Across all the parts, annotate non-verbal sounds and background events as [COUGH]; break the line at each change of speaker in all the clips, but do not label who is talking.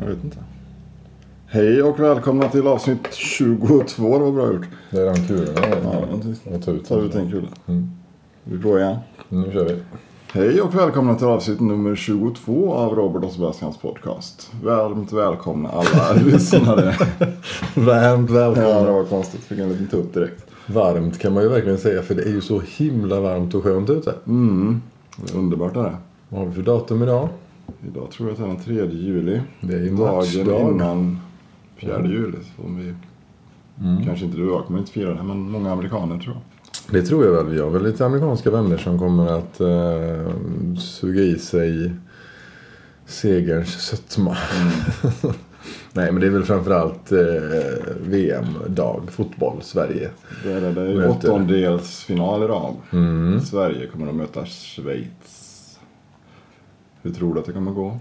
Jag vet inte. Hej och välkomna till avsnitt 22. Det var bra gjort.
Det är de kulorna.
Ja,
Ja,
precis.
och ta ut
Ta ut
den.
en kula.
Mm.
Vi går igen.
Nu kör vi.
Hej och välkomna till avsnitt nummer 22 av Robert och Sebastians podcast. Varmt välkomna alla [LAUGHS] lyssnare.
Varmt
Ja, det
välkomna.
var konstigt. Fick en liten tupp direkt.
Varmt kan man ju verkligen säga för det är ju så himla varmt och skönt ute.
Underbart är Mm. det.
Vad har vi för datum idag?
Idag tror jag att det är den 3 juli.
Det är ju
Dagen
matchdag.
innan 4 juli. Som vi, Kanske inte du och jag kommer inte fira det, men många amerikaner tror jag.
Det tror jag väl. Vi har väl lite amerikanska vänner som kommer att eh, suga i sig segerns sötma. [LAUGHS] Nej men det är väl framförallt eh, VM-dag, fotboll, Sverige.
Det är det. Det är ju
Möter.
åttondelsfinal idag.
Mm.
Sverige kommer att möta Schweiz. Hur tror du att det kommer gå?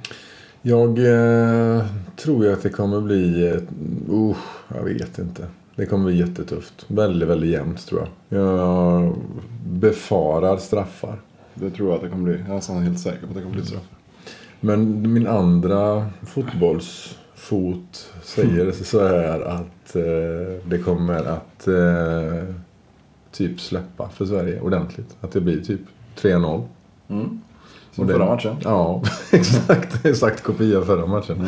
Jag eh, tror ju att det kommer bli... eh, Uh, jag vet inte. Det kommer bli jättetufft. Väldigt, väldigt jämnt tror jag. Jag befarar straffar.
Det tror jag att det kommer bli. Jag är nästan helt säker på att det kommer bli straff.
Men min andra fotbollsfot säger så här att eh, det kommer att eh, typ släppa för Sverige ordentligt. Att det blir typ 3-0.
Som
Mm. Och det-
förra matchen.
Ja, [LAUGHS] exakt. Exakt kopia förra matchen.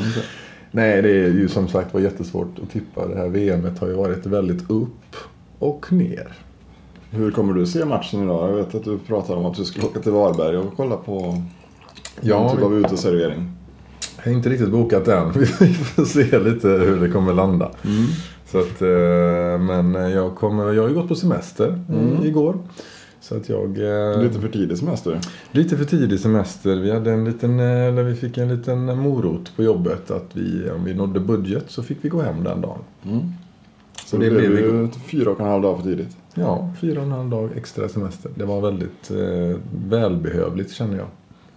Nej, det är ju som sagt var jättesvårt att tippa. Det här VMet har ju varit väldigt upp och ner.
Hur kommer du se matchen idag? Jag vet att du pratade om att du skulle åka till Varberg och kolla på någon
Ja,
typ av uteservering.
Jag har inte riktigt bokat än. [LAUGHS] Vi får se lite hur det kommer landa. Så att, eh, men jag, kommer, jag har ju gått på semester i- igår. Så att jag... eh,
Lite för tidig semester.
Lite för tidig semester. Vi, hade en liten, eh, eller vi fick en liten morot på jobbet att vi, om vi nådde budget så fick vi gå hem den dagen.
Så
Och
det
det
blev
blev
ju fyra och en halv dag för tidigt.
Ja, fyra och en halv dag extra semester. Det var väldigt eh, välbehövligt känner jag.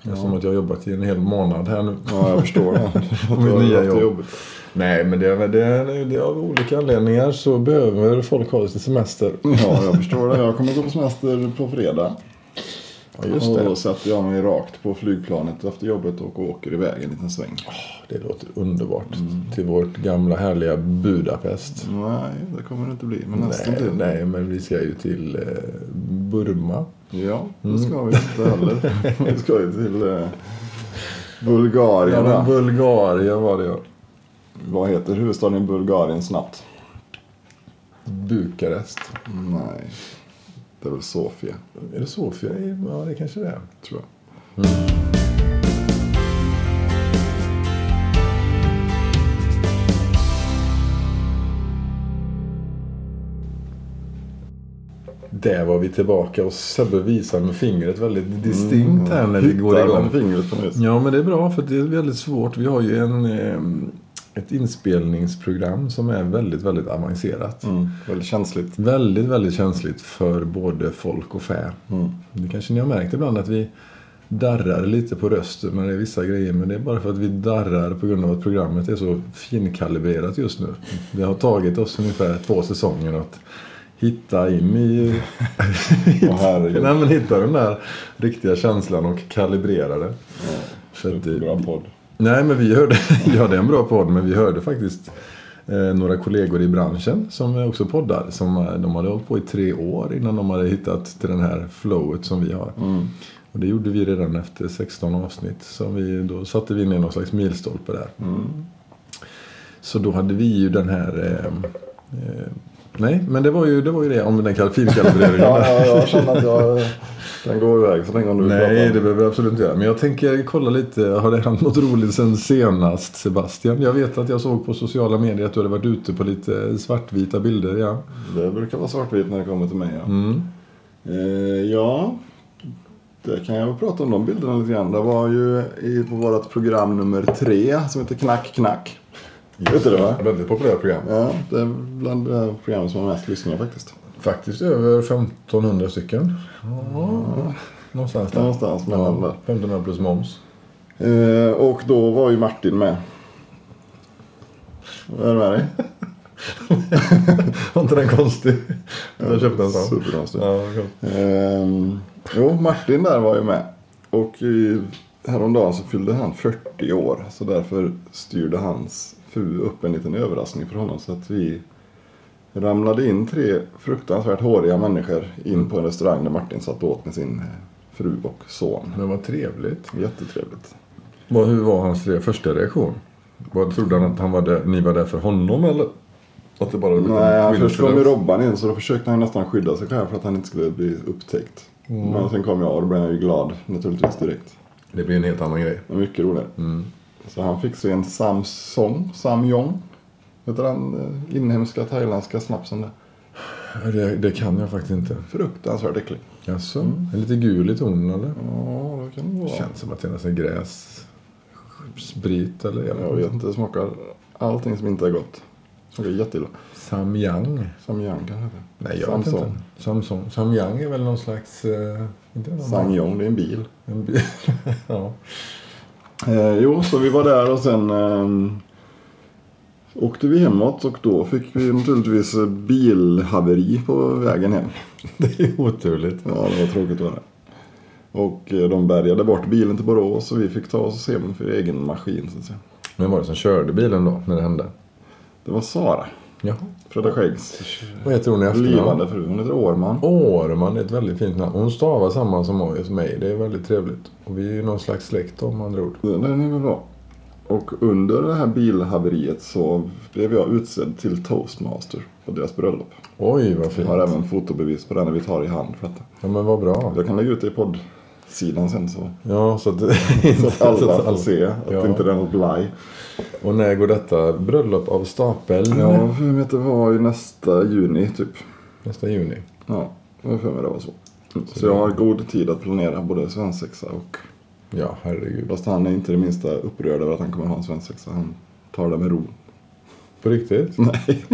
Eftersom att jag har jobbat i en hel månad här nu.
Ja, jag
[LAUGHS]
förstår det.
På
Du
mitt
har
nya
haft det
jobb.
jobbigt.
Nej, men det, det, det, av olika anledningar så behöver folk ha lite semester.
Ja, jag förstår det. Jag kommer gå på semester på fredag.
Ja, just
Och
det.
då sätter jag mig rakt på flygplanet efter jobbet och åker iväg en liten sväng.
Det låter underbart. Till vårt gamla härliga Budapest.
Nej, det kommer det inte bli. Men nästan
Nej,
till.
nej, men vi ska ju till eh, Burma.
Ja, det ska vi inte heller. Vi ska ju till eh, Bulgarien.
Ja, men
va?
Bulgarien var det ja.
Vad heter huvudstaden i Bulgarien snabbt?
Bukarest.
Nej, det är väl Sofia,
Är det Sofia? Ja, det kanske det är.
tror jag.
Där var vi tillbaka och Sebbe visar med fingret väldigt distinkt här när vi
Mm. Hittar
går igång.
med fingret på nytt.
Ja, men det är bra för det är väldigt svårt. Vi har ju en, eh, ett inspelningsprogram som är väldigt, väldigt avancerat.
Mm, väldigt känsligt.
Väldigt, väldigt känsligt för både folk och fä.
Mm.
Det kanske ni har märkt ibland att vi darrar lite på rösten när det är vissa grejer. Men det är bara för att vi darrar på grund av att programmet är så finkalibrerat just nu. Det har tagit oss ungefär två säsonger att hitta in i...
[LAUGHS] Åh, herregud.
Nej, men hitta den där riktiga känslan och kalibrera det. Så att det-
Bra podd.
Nej, men vi hörde, [LAUGHS] ja det är en bra podd, men vi hörde faktiskt eh, några kollegor i branschen som också poddar. Som, eh, de hade hållit på i tre år innan de hade hittat till den här flowet som vi har.
Mm.
Och det gjorde vi redan efter 16 avsnitt. Så vi, då satte vi ner någon slags milstolpe där.
Mm.
Så då hade vi ju den här... Eh, eh, nej, men det var ju det, var ju det om den kalkylkalibreringen.
[LAUGHS] Ja, ja, jag känner att jag kan gå iväg så länge om du vill
Nej,
prata.
det behöver jag absolut inte göra. Men jag tänker kolla lite. Har det hänt något roligt sen senast, Sebastian? Jag vet att jag såg på sociala medier att du hade varit ute på lite svartvita bilder, ja.
Det brukar vara svartvitt när det kommer till mig. Ja.
Mm.
Eh, ja, det kan jag väl prata om de bilderna lite grann. Det var ju i, på vårt program nummer tre som heter Knack Knack. Vet du det va?
Väldigt populärt program.
Ja, det är bland de program som har mest lyssningar faktiskt.
Faktiskt över 1500 stycken. Ja, någonstans där.
Någonstans mellan där.
1500 plus moms. [LAUGHS]
Eh, och då var ju Martin med. Är du med dig?
Var inte den konstig? Jag köpte en sån.
Superkonstigt.
Ja, cool.
Ehm, jo, Martin där var ju med. Och eh, häromdagen så fyllde han 40 år. Så därför styrde hans fru upp en liten överraskning för honom. Så att vi ramlade in tre fruktansvärt håriga människor in på en restaurang där Martin satt och åt med sin fru och son.
Men vad trevligt.
Jättetrevligt.
Vad, hur var hans re- första reaktion? Vad, trodde han att han var där, ni var där för honom eller? Att det bara hade blivit en
Nej, han först kom ju
coincidence?
Robban in så då försökte han nästan skydda sig själv för att han inte skulle bli upptäckt. Men sen kom jag och då blev jag ju glad naturligtvis direkt.
Det blir en helt annan grej.
Det var mycket roligare.
Mm.
Så han fick sig en Samsung, Samyong. Heter den eh, inhemska thailändska snapsen där.
Det, det kan jag faktiskt inte.
Fruktansvärt äcklig.
Jaså? En lite gul i tonen eller?
Ja, det kan det
Det
vara.
känns som att det är nästan gräs. Sprit eller? Jag vet
Jag
inte.
vet inte, det smakar allting som inte är gott. Smakar jätteilla.
Samyang?
Samyang kanske heter.
Nej, jag vet
Samsung.
inte. Samsung. Samyang är väl någon slags... Eh, inte någon
Sangyong, det är en bil.
En bil. [LAUGHS] ja.
Eh, jo, så vi var där och sen ehm, åkte vi hemåt och då fick vi naturligtvis eh, bilhaveri på vägen hem.
Det är oturligt.
Ja, det var tråkigt var det. Och eh, de bärgade bort bilen till Borås så vi fick ta oss hem för egen maskin så att säga.
Men var det som körde bilen då, när det hände?
Det var Sara,
Ja.
Fröda Skäggs
Vad heter hon i efternamn?
blivande fru. Hon heter Årman.
Årman är ett väldigt fint namn. Hon stavar samma som mig- som mig. Det är väldigt trevligt. Och vi är ju någon slags släkt om andra ord.
Den är väl bra. Och under det här bilhaveriet så blev jag utsedd till toastmaster på deras bröllop.
Oj, vad
Jag
fint.
har
Ja,
även fotobevis på den när vi tar i hand för detta.
men vad bra.
Jag kan lägga ut det i poddsidan sen så,
Ja, så att,
[LAUGHS]
[LAUGHS]
så att
så
alla
att
får se att
Ja.
det inte är något blaj.
Och när går detta bröllop av stapeln?
Ja, jag har för mig att det var ju nästa juni typ.
Nästa juni.
Ja, jag har för mig det var så. Så jag har god tid att planera både svensexa och...
Ja, herregud.
Fast han är inte det minsta upprörd över att han kommer ha en svensexa. Han tar det med ro. [LAUGHS]
På riktigt?
Nej,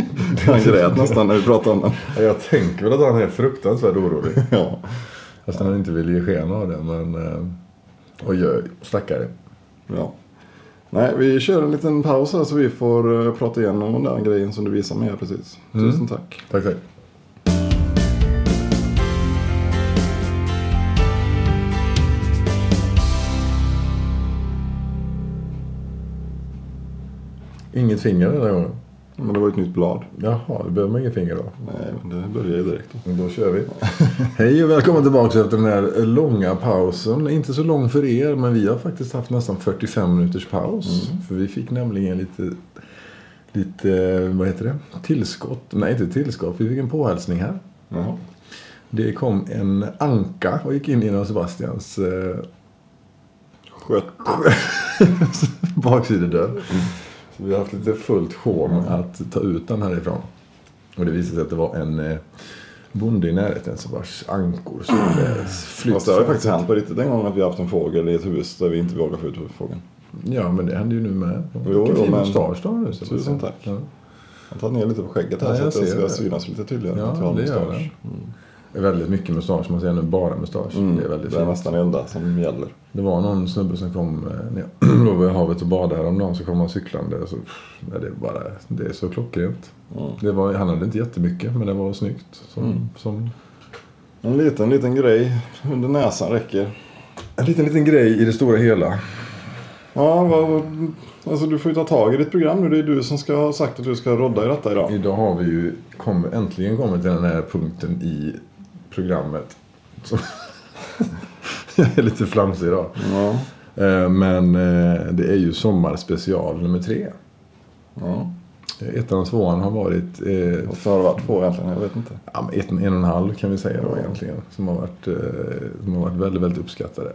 han grät nästan när vi pratade om det.
Mm. Ja, Jag tänker väl att han är fruktansvärt orolig.
[LAUGHS] Ja.
Fast han inte vill ge sken av det, men... eh, Oj, oj, stackare.
ja. Nej, vi kör en liten paus här så vi får eh, prata igenom den där grejen som du visade mig här precis. Tusen tack.
Tack, tack. Inget finger den här gången?
Men det var ju ett nytt blad.
Jaha, då behöver man inget finger då.
Nej, men det börjar ju direkt.
Men Då kör
[LAUGHS]
vi. Hej och välkommen tillbaka efter den här långa pausen. Inte så lång för er, men vi har faktiskt haft nästan 45 minuters paus.
Mm.
För vi fick nämligen lite, lite, vad heter det? Tillskott. Nej, inte tillskott. Vi fick en påhälsning här.
Jaha.
Det kom en anka och gick in genom Sebastians eh, [LAUGHS]
Sköt. Mm.
baksidedörr. Så vi har haft lite fullt sjå med att ta ut den härifrån. Och det visade sig att det var en eh, bonde i närheten som vars ankor skulle
Fast det har ju
flytta.
faktiskt hänt på riktigt en gång att vi har haft en fågel i ett hus där vi inte vågar få ut fågeln.
Ja, men det hände ju nu med.
jo,
Vilken fin
men-
mustasch du har nu. Sebastian.
Tusen tack.
Ja,
Jag tar ner lite på skägget här
Ja,
så
jag
att det
ser
ska
det.
synas lite tydligare. att jag
ja
har
det gör
mustasch.
den. Väldigt mycket mustasch. Man säger nu bara mustasch. Det är väldigt
Mm, Det är
fint.
nästan det enda som gäller.
Det var någon snubbe som kom eh, när jag [CLEARS THROAT] låg vid havet och badade häromdagen så kom han cyklande. Och så, pff, nej, det, är bara, det är så klockrent.
Mm.
Det var, han hade inte jättemycket men det var snyggt. Som, som,
En liten, liten grej under näsan räcker.
en liten, liten grej i det stora hela.
Ja, vad, alltså du får ju ta tag i ditt program nu. Det är du som ska ha sagt att du ska rodda i detta idag.
Idag har vi ju kom, äntligen kommit till den här punkten i programmet. Så, [LAUGHS] jag är lite flamsig idag.
Ja.
Eh, Men eh, det är ju sommarspecial nummer tre.
ja.
Eh, Ettan och tvåan har varit eh,
Och så har det varit två egentligen, jag vet inte.
ja, men ett, en och en halv kan vi säga då egentligen. Som har varit, eh, som har varit väldigt, väldigt uppskattade.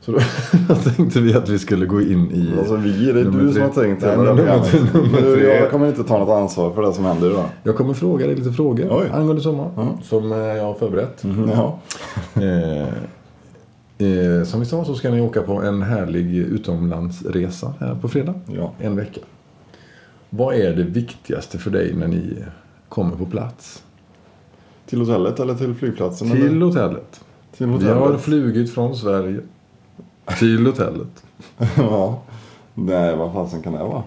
Så då [LAUGHS] tänkte vi att vi skulle gå in i...
Alltså vi, det är
Nummer
du som
tre.
har tänkt
Ja,
hela det
men nummer
här
tre- nummer
programmet. Du,
tre.
Jag kommer inte ta något ansvar för det som händer idag.
Jag kommer fråga dig lite frågor
Oj.
angående sommaren. Som eh, jag har förberett.
Ja.
Eh, eh, som vi sa så ska ni åka på en härlig utomlandsresa här på fredag.
ja.
En vecka. Vad är det viktigaste för dig när ni kommer på plats?
Till hotellet eller till flygplatsen?
Till
eller?
hotellet.
till
Vi
hotellet.
har flugit från Sverige till hotellet.
[LAUGHS] ja. Nej, vad fasen kan det vara?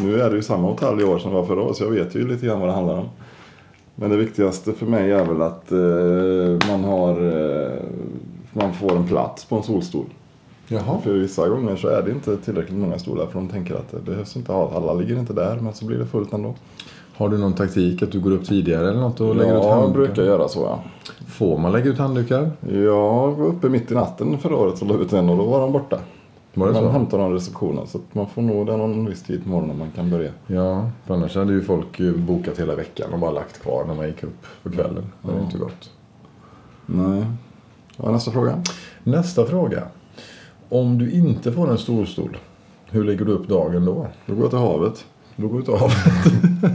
Nu är det ju samma hotell i år som det var förra året så jag vet ju lite grann vad det handlar om. Men det viktigaste för mig är väl att eh, man har eh, man får en plats på en solstol.
Jaha.
För vissa gånger så är det inte tillräckligt många stolar för de tänker att det behövs inte ha, alla ligger inte där men så blir det fullt ändå.
Har du någon taktik att du går upp tidigare eller något och lägger ut
ja, jag
handdukar?
brukar göra så ja.
Får man lägga ut handdukar?
Jag var uppe mitt i natten förra året och la ut en och då var de borta.
Var det
man
så?
hämtar dem i receptionen så att man får nog den någon viss tid på morgonen man kan börja.
Ja, för annars hade ju folk eh, bokat hela veckan och bara lagt kvar när man gick upp på kvällen. Det är inte gott.
Nej. Ja, nästa fråga.
Nästa fråga. Om du inte får en storstol, hur lägger du upp dagen då?
Då går jag till havet.
Då går du till havet. [LAUGHS]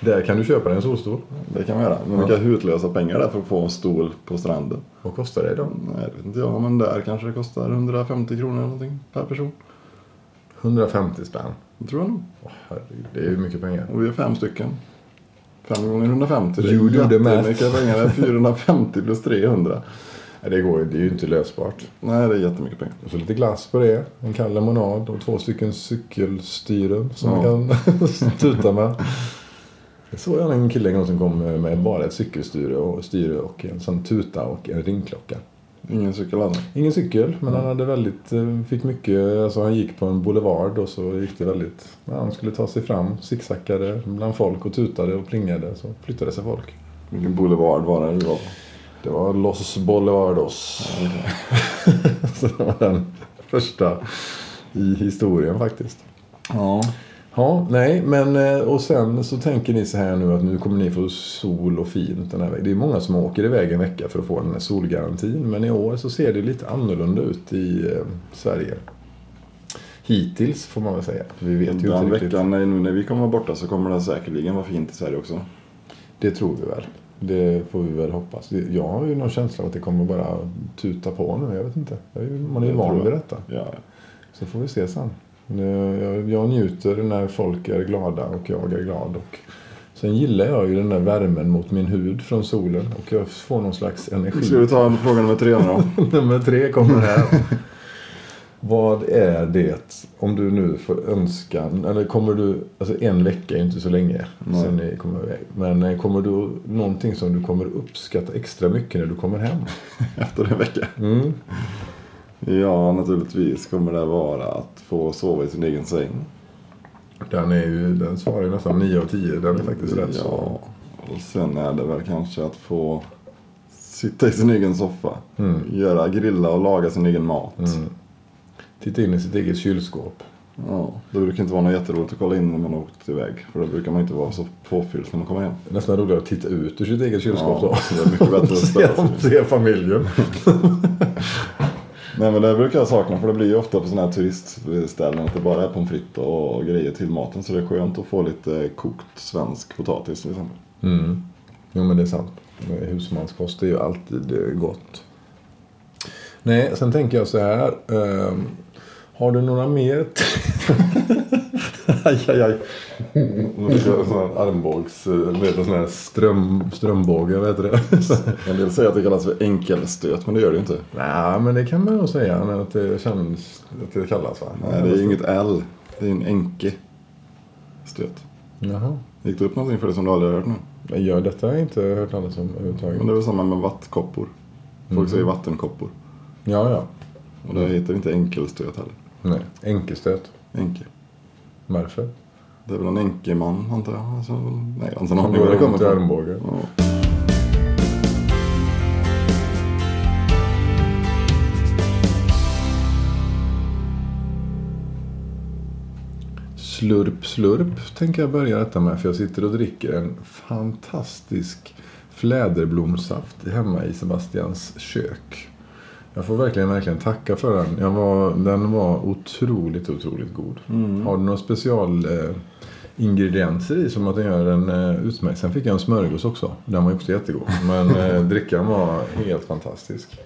Där kan du köpa dig en solstol.
Det kan man göra. Men man kan utlösa pengar där för att få en stol på stranden.
Vad kostar det då?
Nej, det vet inte jag. Men där kanske det kostar 150 kronor eller någonting per person.
150 spänn.
Det tror jag nog.
Åh, herregud, det är ju mycket pengar.
Och vi är fem stycken. Fem gånger 150. det är
You do the math.
jättemycket pengar. Det är 450 plus 300.
Nej, Det, går, ju- det är ju inte lösbart.
Nej, det är jättemycket pengar.
Och så lite glass på det, en kall lemonad och två stycken cykelstyren som
Ja.
man kan [LAUGHS] tuta med. Jag såg jag en kille en gång som kom med bara ett cykelstyre och, styre och en sån tuta och en ringklocka.
Ingen cykel annars.
Ingen cykel, men han hade väldigt, eh, fick mycket, alltså han gick på en boulevard och så gick det väldigt, ja, han skulle ta sig fram, zigzackade bland folk och tutade och plingade så flyttade sig folk.
Vilken boulevard var det du var på?
Det var Los Bolivardos. så det var [LAUGHS] den första i historien faktiskt.
Ja.
Ja, nej, men eh, och sen så tänker ni så här nu att nu kommer ni få sol och fint den här veckan. Det är många som åker iväg en vecka för att få den här solgarantin. Men i år så ser det lite annorlunda ut i eh, Sverige. Hittills får man väl säga. Vi vet ju inte
Den
riktigt.
veckan nej, nu när vi kommer vara borta så kommer det säkerligen vara fint i Sverige också.
Det tror vi väl. Det får vi väl hoppas. Det- Jag har ju någon känsla av att det kommer bara tuta på nu. Jag vet inte. Jag är ju- Man är ju
Jag
van
tror
vid
jag.
detta.
Ja.
Så får vi se sen. Nu- Jag, jag njuter när folk är glada och jag är glad. Och sen gillar jag ju den där värmen mot min hud från solen och jag får någon slags [LAUGHS]
Ska
energi.
vi ta fråga nummer tre nu [LAUGHS] då?
Nummer tre kommer här. Vad är det, om du nu får önskan, eller kommer du, alltså en vecka är ju inte så länge
Nej.
sen ni kommer iväg. Men eh, kommer du, någonting som du kommer uppskatta extra mycket när du kommer hem?
Efter en vecka?
Mm.
Ja, naturligtvis kommer det vara att få sova i sin egen säng.
Den, är ju, den svarar ju nästan 9 av 10, den är faktiskt rätt så.
Ja, och sen är det väl kanske att få sitta i sin egen soffa.
Mm.
Göra, grilla och laga sin egen mat.
Titta in i sitt eget kylskåp.
Ja, det brukar inte vara något jätteroligt att kolla in när man har åkt iväg. För då brukar man inte vara så påfylld när man kommer hem.
Det är Nästan roligare att titta ut ur sitt eget kylskåp
Ja,
[LAUGHS] då.
det är mycket bättre
[LAUGHS]
att ställa sig.
se, se familjen.
Nej men det brukar jag sakna för det blir ju ofta på sådana här turistställen att det bara är pommes frites och grejer till maten. Så det är skönt att få lite kokt svensk potatis till exempel.
Mm. Jo men det är sant. Husmanskost är ju alltid eh, gott. Nej, sen tänker jag så här. ehm, har du några mer... [LAUGHS] t- aj, aj, aj. Nu ska jag ha sån här armbågs... eh, Vad heter det? Sån här ström, strömbåge, vad heter det?
En del säger att det kallas för enkelstöt men det gör det ju inte.
[LAUGHS] Nej, men det kan man nog säga. men Att det, känns, att det kallas va?
Nej, det är ju inget L. Det är en enke. Stöt.
Jaha.
Gick det upp någonting för det som du aldrig har hört nu?
Nej, Ja, detta har jag inte hört talas om överhuvudtaget.
Men det är väl samma med vattkoppor. Folk säger vattenkoppor.
Ja, ja.
Och det heter inte enkelstöt heller.
Nej. Enkelstöt.
Enke.
Varför?
Det är väl en enkeman antar jag. Alltså, nej, jag har inte en
Han
aning
går
var det kommer
runt i
ifrån.
armbågen.
Ja.
Slurp, slurp tänker jag börja detta med. För jag sitter och dricker en fantastisk fläderblomssaft hemma i Sebastians kök. Jag får verkligen, verkligen tacka för den. Jag var, den var otroligt, otroligt god.
Mm.
Har du några special eh, ingredienser i som att den gör den eh, utmärkt? Sen fick jag en smörgås också. Den var ju också jättegod. Men
[LAUGHS]
eh, drickan var helt fantastisk.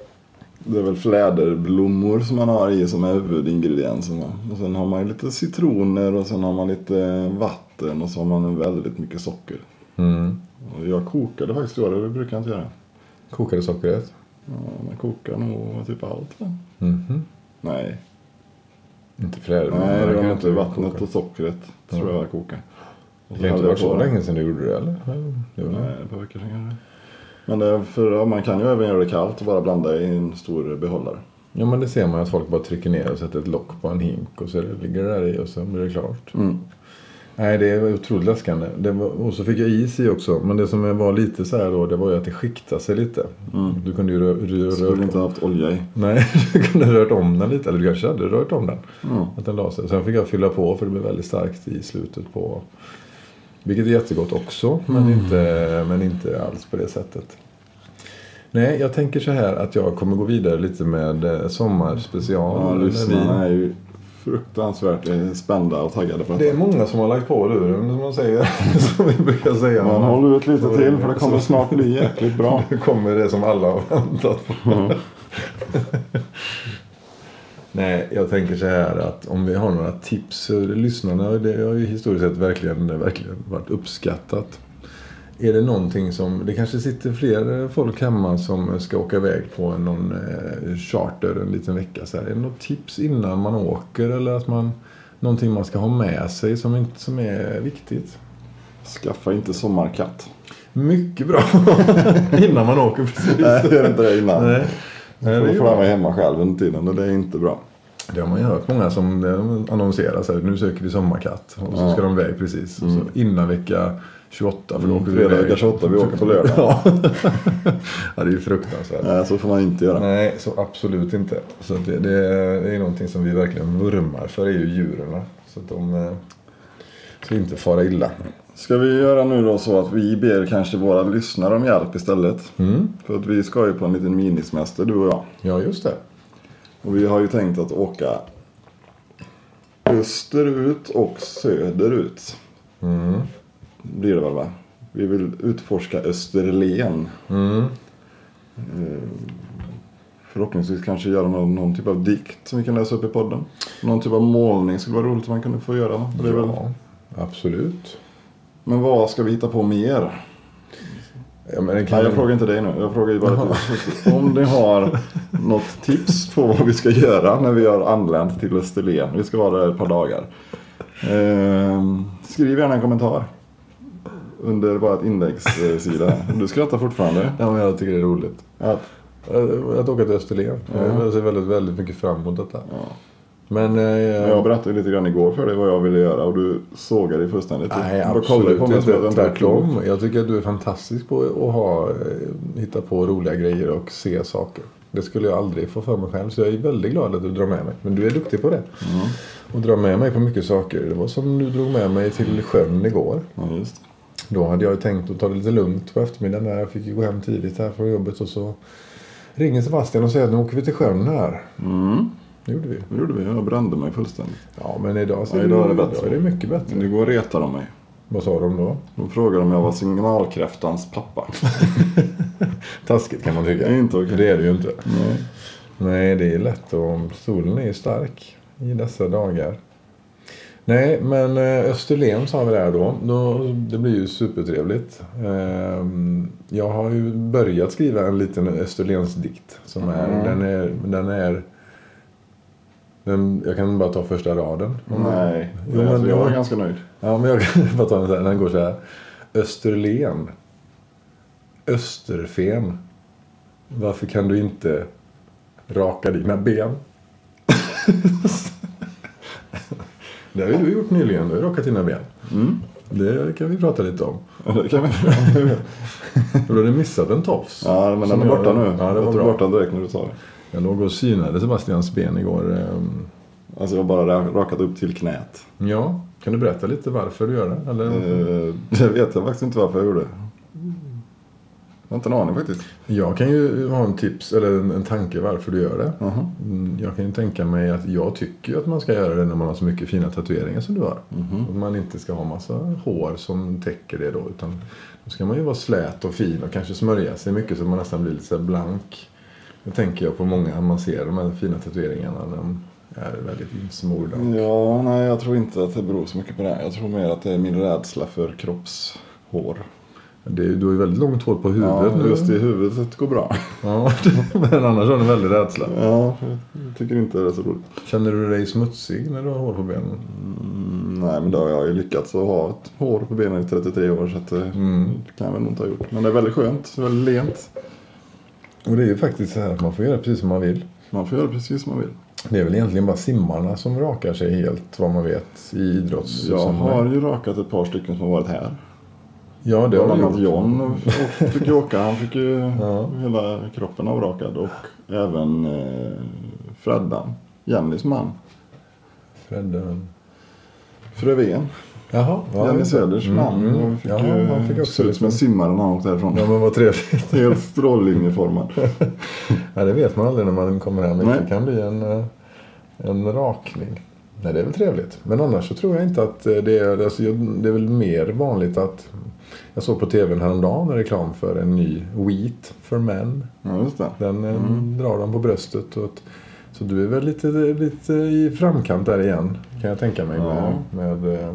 Det är väl fläderblommor som man har i som är huvudingrediensen. va? Och sen har man ju lite citroner och sen har man lite vatten och så har man väldigt mycket socker.
Mm.
Och jag kokade faktiskt i år, det brukar jag inte göra.
Kokade sockret.
Ja, man kokar nog typ allt va?
Mhm.
Nej,
Inte fläderblomssaft.
nej det var inte vattnet och sockret tror jag jag kokade.
Det kan
Och så
inte
hällde
vara
jag
så
på-
länge sedan du gjorde det eller? Det var-
Nej, ett par veckor sedan kanske. Men det, är för, ja, man kan ju även göra det kallt och bara blanda i en stor behållare.
Ja men det ser man ju att folk bara trycker ner och sätter ett lock på en hink och så ligger det där i och så blir det klart.
Mm.
Nej det var otroligt läskande. Det var, och så fick jag is i också. Men det som var lite så här då det var ju att det skiktade sig lite. Du kunde ju rö- rö-
Skulle
röra
inte haft olja i.
Nej, [LAUGHS] du kunde rört om den lite. Eller du kanske hade rört om den.
Mm.
Att den la sig. Sen fick jag fylla på för det blev väldigt starkt i slutet på. Vilket är jättegott också.
Mm.
Men, inte, men inte alls på det sättet. Nej, jag tänker så här att jag kommer gå vidare lite med eh, sommarspecial.
Ja,
eller vin.
lyssnarna är ju fruktansvärt eh, spända och taggade på
Det är
detta.
många som har lagt på luren som man säger. [LAUGHS] som vi brukar säga.
Men håll ut lite till för det kommer
Så-
snart bli jäkligt bra.
[LAUGHS] Nu kommer det som alla har väntat på. Nej, jag tänker så här att om vi har några tips. eh, Lyssnarna det har ju historiskt sett verkligen, verkligen varit uppskattat. Är det någonting som, det kanske sitter fler eh, folk hemma som ska åka iväg på någon eh, charter en liten vecka. Så här. Är det något tips innan man åker eller att man, någonting man ska ha med sig som, inte, som är viktigt?
Skaffa inte sommarkatt.
Mycket bra! [LAUGHS] innan man åker precis.
Nej, gör inte det innan.
Nej. Nej,
För
det,
då
är
får han
bra.
vara hemma själv under tiden och det är inte bra.
det har man ju hört många som eh, annonserar så här, nu söker vi sommarkatt. Och så ska de iväg precis. Och så innan vecka 28. För då
Mm,
åker vi
fredag
iväg.
vecka 28,
[LAUGHS]
vi åker på lördag.
ja. ja, det är ju fruktansvärt.
Nej, så får man inte göra.
Nej, så absolut inte. Så att det, det, det är någonting som vi verkligen vurmar för, det är ju djuren. Så att de eh, ska inte fara illa.
Ska vi göra nu då så att vi ber kanske våra lyssnare om hjälp istället? För att vi ska ju på en liten minisemester du och jag.
Mm. Ja, just det.
Och vi har ju tänkt att åka österut och söderut.
Mm.
Blir det väl va? Vi vill utforska Österlen.
Mm.
Eh, Förhoppningsvis kanske göra någon, någon typ av dikt som vi kan läsa upp i podden. Någon typ av målning skulle vara roligt om man kunde få göra. va? Det är väl...
Ja, absolut.
Men vad ska vi hitta på mer?
Ja, men det kan
Nej, jag
ju-
frågar inte dig nu. Jag frågar ju bara att- om ni har något tips på vad vi ska göra när vi har anlänt till Österlen. Vi ska vara där ett par dagar. Ehm, skriv gärna en kommentar under vårt inläggssida. Du skrattar fortfarande.
Ja, men jag tycker det är roligt.
Att,
Eh, Att åka till Österlen. Jag ser väldigt, väldigt mycket fram emot detta. Men... eh,
jag berättade lite grann igår för dig vad jag ville göra och du sågade dig fullständigt.
Nej,
Du bara kollade
absolut
på mig som att jag
inte.
inte var klok.
Tvärtom. Jag tycker att du är fantastisk på att ha, eh, hitta på roliga grejer och se saker. Det skulle jag aldrig få för mig själv. Så jag är väldigt glad att du drar med mig. Men du är duktig på det.
Mm.
Och drar med mig på mycket saker. Det var som du drog med mig till sjön igår.
Ja, just.
Då hade jag ju tänkt att ta det lite lugnt på eftermiddagen. Där. Jag fick ju gå hem tidigt här från jobbet. Och så ringer Sebastian och säger att nu åker vi till sjön här.
Mm,
Det gjorde vi.
det gjorde vi. Jag brände mig fullständigt.
Ja, men idag, så
Ja, idag är det
idag
bättre.
är det mycket bättre.
Men igår retade de mig.
Vad sa de då?
De frågade om jag var signalkräftans pappa.
Taskigt kan man tycka.
Det är inte okej.
Det är det ju inte. Nej, det är lätt och solen är ju stark i dessa dagar. Nej, men eh, Österlen sa vi där då. då det blir ju supertrevligt. Ehm, Jag har ju börjat skriva en liten Österlensdikt. Som är,
Mm.
den är, den är den, jag kan bara ta första raden.
Nej,
Jo, men
alltså, jag
det
var
var-
ganska nöjd.
Ja, men jag [LAUGHS] kan bara ta den så här. Den går så här. Österlen. Österfen. Varför kan du inte raka dina ben? [LAUGHS] det har ju du gjort nyligen. Du har rakat dina ben.
Mm.
Det kan vi prata lite om.
Det kan vi-
För då har du missat en tofs.
[LAUGHS] ja, men
Som
den är
jag-
borta nu.
Ja, det
jag
var
tog
bra.
bort den direkt när du sa det.
Jag låg och synade Sebastians ben igår. ehm.
Alltså jag har bara ra- rakat upp till knät.
Ja, kan du berätta lite varför du gör det? Eller?
Eh, [LAUGHS] Det vet jag faktiskt inte varför jag gjorde. Jag har inte en aning faktiskt.
Jag kan ju ha en tips eller en, en tanke varför du gör det.
Mhm.
Mm, Jag kan ju tänka mig att jag tycker ju att man ska göra det när man har så mycket fina tatueringar som du har.
Mm. Mhm.
Att man inte ska ha massa hår som täcker det då. Utan då ska man ju vara slät och fin och kanske smörja sig mycket så man nästan blir lite så här blank. Det tänker jag på många, man ser de här fina tatueringarna. De är väldigt insmorda.
Mm. Ja, nej jag tror inte att det beror så mycket på det. här. Jag tror mer att det är min rädsla för kroppshår.
Det är, ju- du har ju väldigt långt hår på huvudet
Ja,
nu.
just i huvudet går bra. [LAUGHS]
Ja, [LAUGHS] men annars har du väldigt rädsla.
Ja, jag tycker inte det är så roligt.
Känner du dig smutsig när du har hår på benen?
Mm, Nej, men då har jag ju lyckats att ha ett hår på benen i 33 år så att det
Mm.
det kan jag väl nog inte ha gjort. Men det är väldigt skönt, väldigt lent.
Och det är ju faktiskt så här att man får göra precis som man vill.
Man får göra precis som man vill.
Det är väl egentligen bara simmarna som rakar sig helt vad man vet i idrotts...
Jag
som-
har ju rakat ett par stycken som har varit här.
Ja, det
Bland
har
annat
du gjort.
John och, och fick ju åka. Han fick ju
Ja.
hela kroppen avrakad. Och även eh, Freddan, Jennys man.
Fredde.
Frövén,
Jaha. Ja,
Jenny
just det.
Söders man.
Mm, mm.
Han fick
Ja,
ju
han fick också
se ut som en
lite-
simmare när han åkte härifrån.
Ja, men vad trevligt.
Helt strållinjeformad.
Ja, det vet man aldrig när man kommer hem.
Nej.
Det kan bli en, eh, en rakning. Nej, det är väl trevligt. Men annars så tror jag inte att eh, det är... Alltså, jag- det är väl mer vanligt att... Jag såg på tvn häromdagen en reklam för en ny Wheat for Men.
Ja, just det.
Den eh,
Mm.
drar de på bröstet. Och att, så du är väl lite, lite i framkant där igen kan jag tänka mig med, med eh,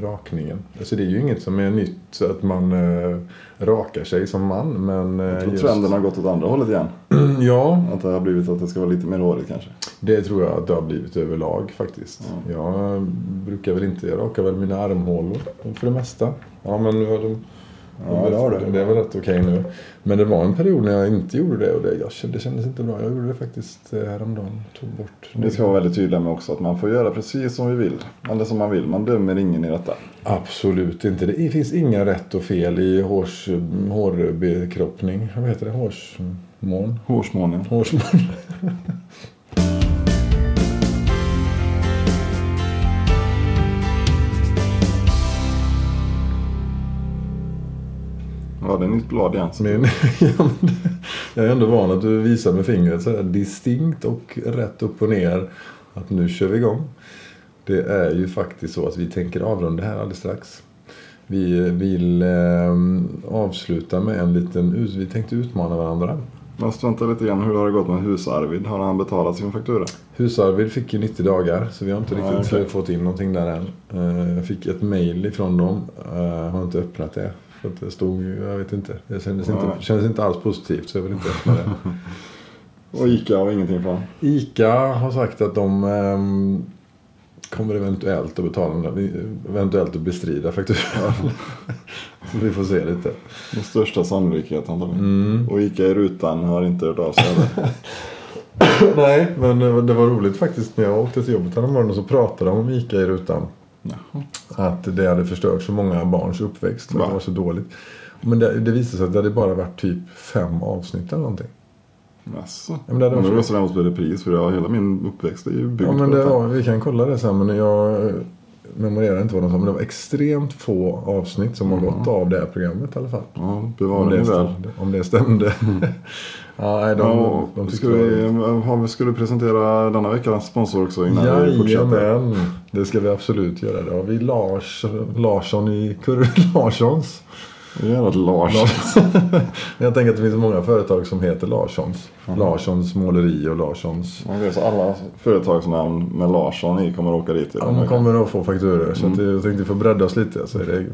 rakningen. Alltså det är ju inget som är nytt så att man eh, rakar sig som man. Men, eh,
Jag tror
just-
trenden har gått åt andra hållet igen.
[CLEARS THROAT] Ja,
Att det har blivit att det ska vara lite mer hårigt kanske.
det tror jag att det har blivit överlag faktiskt. Jag brukar väl inte, jag rakar väl mina armhålor för det mesta. Ja men nu har de
Ja, det har du.
det är väl rätt okej nu. Men det var en period när jag inte gjorde det och det, jag kände, det kändes inte bra. Jag gjorde det faktiskt eh, häromdagen. Tog bort.
Det ska vara väldigt tydliga med också att man får göra precis som vi vill. Eller som man vill. Man dömer ingen i detta.
Absolut inte. Det finns inga rätt och fel i hårs, hårbekroppning. Vad heter det? Hårsmån?
Hårsmånen.
Hårsmån.
Ja, det är nytt blad igen. Så
Men, [LAUGHS] ja, men det- jag är ändå van att du visar med fingret så här distinkt och rätt upp och ner att nu kör vi igång. Det är ju faktiskt så att vi tänker avrunda här alldeles strax. Vi vill eh, avsluta med en liten... ut- Vi tänkte utmana varandra.
Man struntar lite grann. Hur har det gått med hus-Arvid? Har han betalat sin faktura?
Husarvid fick ju 90 dagar så vi har inte
Ja,
riktigt
okej.
eh, fått in någonting där än. Eh, Jag fick ett mail ifrån dem. Eh, Har inte öppnat det. För att det stod, jag vet inte. Det kändes,
Nej.
inte, kändes inte alls positivt så jag vill inte öppna det.
Och Ica har ingenting från.
Ica har sagt att de ehm, kommer eventuellt att betala, eventuellt att bestrida fakturan. [LAUGHS] så vi får se lite. Mm.
Med största sannolikhet antagligen. Och Ica i rutan har inte hört av sig [LAUGHS] heller.
[CLEARS THROAT] Nej, men eh, det var roligt faktiskt när jag åkte till jobbet morgonen så pratade de om Ica i rutan. Att det hade förstört så många barns uppväxt. För
Va?
det var så dåligt. Men det, det visade sig att det hade bara varit typ fem avsnitt eller någonting.
Jaså?
men det hade
Men
de-
det var sådär mot det pris för jag, hela min uppväxt är ju byggd
Ja, men
på
det
detta.
var, vi kan kolla det sen. Men jag eh, memorerar inte vad de sa. Men det var extremt få avsnitt som har gått av det här programmet i alla fall.
Ja,
Om
bevara
det,
mig väl.
stämde. Om det stämde. [LAUGHS] ja, nej, de,
Mm. Ja,
de tyckte
skulle, vi, har vi skulle presentera denna veckans sponsor också innan vi fortsätter.
Jajamän, det ska vi absolut göra. Då har vi Lars, Larsson i Kurre [LAUGHS] Larssons.
Jävla Lars.
Men [LAUGHS] jag tänker att det finns många företag som heter Larssons. Larssons måleri och Larssons.
Okej, så alla företagsnamn med Larsson i kommer åka dit. i den
De
här
kommer att få fakturor. Så att
Mm.
jag tänkte få bredda oss lite. Så är
[LAUGHS]
det,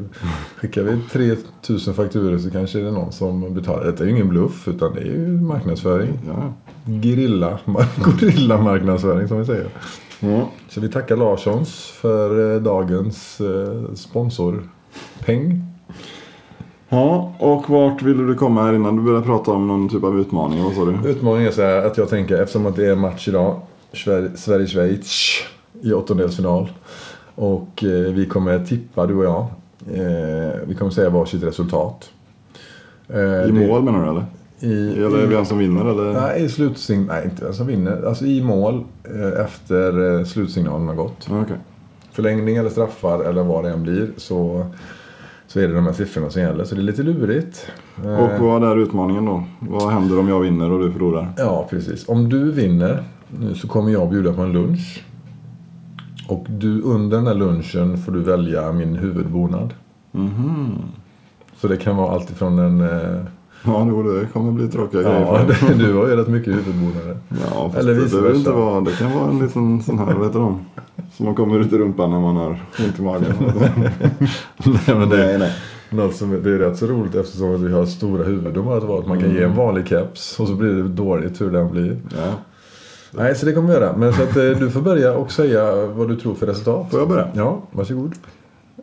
skickar vi 3000 fakturor så kanske det är någon som betalar. Detta är ju ingen bluff utan det är ju marknadsföring.
veckan.
Grilla, [LAUGHS] gorilla marknadsföring som vi säger.
Ja. Mm.
Så vi tackar Larssons för eh, dagens eh, sponsorpeng.
Ja, och vart ville du komma här innan du började prata om någon typ av utmaning? Vad sa du?
Utmaningen är så här att jag tänker eftersom att det är match idag. Sver- Sverige-Schweiz i åttondelsfinal. Och eh, vi kommer tippa du och jag. Eh, vi kommer säga varsitt resultat. Eh,
I
det-
mål menar du eller?
I,
Eller
i,
vem som vinner eller?
nej, i slutsignal. Nej, inte vem som vinner. Alltså i mål eh, efter eh, slutsignalen har gått.
Ja, Okej.
förlängning eller straffar eller vad det än blir så, så är det de här siffrorna som gäller. Så det är lite lurigt. Eh,
Och vad är utmaningen då? Vad händer om jag vinner och du förlorar?
Ja, precis. Om du vinner nu så kommer jag bjuda på en lunch. Och du under den här lunchen får du välja min huvudbonad. Så det kan vara allt ifrån en... Eh,
Mhm. Ja, jo, det kommer bli tråkiga grejer.
ja,
för
[LAUGHS]
dig.
du har ju rätt mycket huvudbonader.
ja fast
Eller
det
vice
behöver
versa.
inte vara. Det kan vara en liten sån här, vad heter de? Som man kommer ut i rumpan när man har ont i [LAUGHS] magen.
nej, men det,
nej, nej.
Något som, det är rätt så roligt eftersom att vi har stora huvuddomar att vara att man kan ge en vanlig keps och så blir det dåligt hur den blir.
Ja.
Nej, så det kommer vi göra. Men så att eh, du får börja och säga vad du tror för resultat.
Får jag börja?
Ja, varsågod.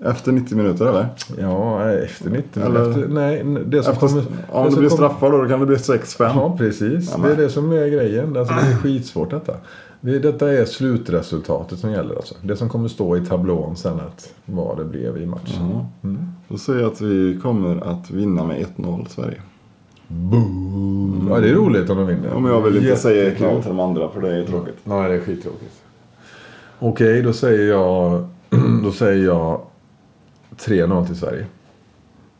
Efter 90 minuter eller?
Ja, efter 90
Eller-
Efter, nej, det som
Efter,
kommer...
om
det
du
som kommer-
blir straffad då, då kan det bli 6-5.
Ja, precis.
Ja, Ah.
det är
men-
det som är grejen. Alltså, det är skitsvårt detta. Det, detta är slutresultatet som gäller alltså. Det som kommer stå i tablån sen att vad det blev i matchen.
Mm. Då säger jag att vi kommer att vinna med 1-0 Sverige.
Boom! Ja, det är roligt om de vinner.
Mm. Ja, men jag vill inte säga
Jättekul.
ekran till de andra för det är tråkigt.
Nej, det är skittråkigt. Okej, då säger jag... [CLEARS THROAT] Då säger jag 3-0 till Sverige.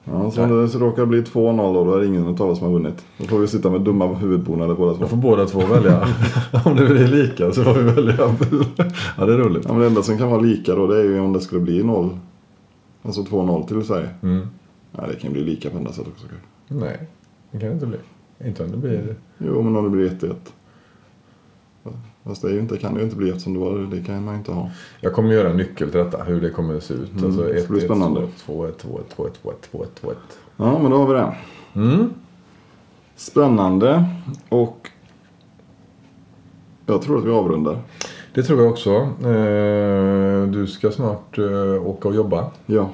Ja, så om det så råkar bli 2-0 då, då är det ingen av oss som har vunnit. Då får vi sitta med dumma huvudbonader båda två.
Då får båda två
[LAUGHS]
välja. om det blir lika så får vi välja. ja, det är roligt.
Ja, men det enda som kan vara lika då det är ju om det skulle bli 0. Alltså 2-0 till Sverige.
Mm.
Ja, det kan bli lika på andra sätt också. kanske.
Nej, det kan det inte bli. Inte om det blir...
Jo, men om det blir 1-1. Fast det är ju inte, kan det ju inte bli eftersom det, var, det kan man ju inte ha.
Jag kommer göra en nyckel till detta, hur det kommer att se ut. Mm. Alltså
det ska bli
1, 1, 2,
spännande.
2, 1, 2, 1, 2, 1, 2, 1, 2, 1, 2, 1.
Ja, men då har vi det.
Mm.
Spännande och jag tror att vi avrundar.
Det tror jag också. Eh, Du ska snart eh, åka och jobba.
Ja,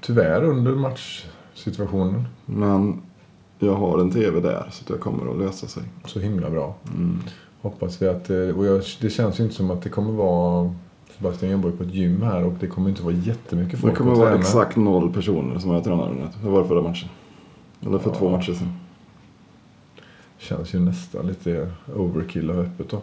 Tyvärr under matchsituationen.
men jag har en tv där så att jag kommer att lösa sig.
Så himla bra. Hoppas vi att... eh, Och jag, det känns ju inte som att det kommer vara... Sebastian jobbar ju på ett gym här och det kommer inte vara jättemycket folk
Det kommer
att
vara
träna.
exakt noll personer som jag tränade med. Det var förra matchen. Eller för
Ja.
två matcher sedan.
Känns ju nästan lite overkill att ha öppet då.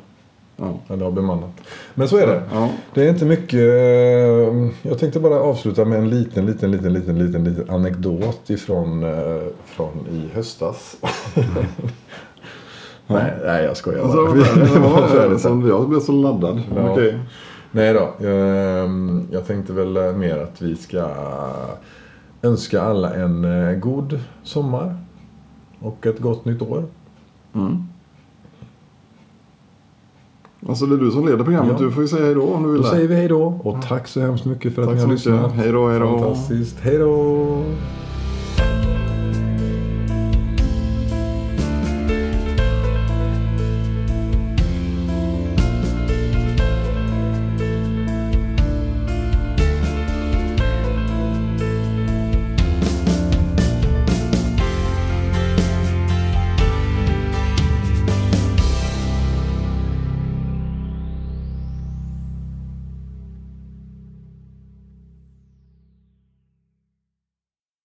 Ja.
Eller ha bemannat. Men så är det.
Ja.
Det är inte mycket. eh, Jag tänkte bara avsluta med en liten, liten, liten, liten, liten, liten anekdot ifrån eh, från i [LAUGHS] höstas. nej, nej, jag skojar
Alltså,
bara.
vad
[LAUGHS]
är [LAUGHS] det?
Det var
Vad är det
färdigt.
som- jag blev så laddad.
Ja.
Okej.
Nej då, eh, jag tänkte väl mer att vi ska önska alla en eh, god sommar och ett gott nytt år.
Mm. Alltså det är du som leder programmet.
Ja.
Du får ju säga hej då om du vill.
Då
det.
säger vi hej då och tack så hemskt mycket för att
Tack
ni
så
har
mycket.
lyssnat.
Hej då, hej då.
Fantastiskt. Hej då.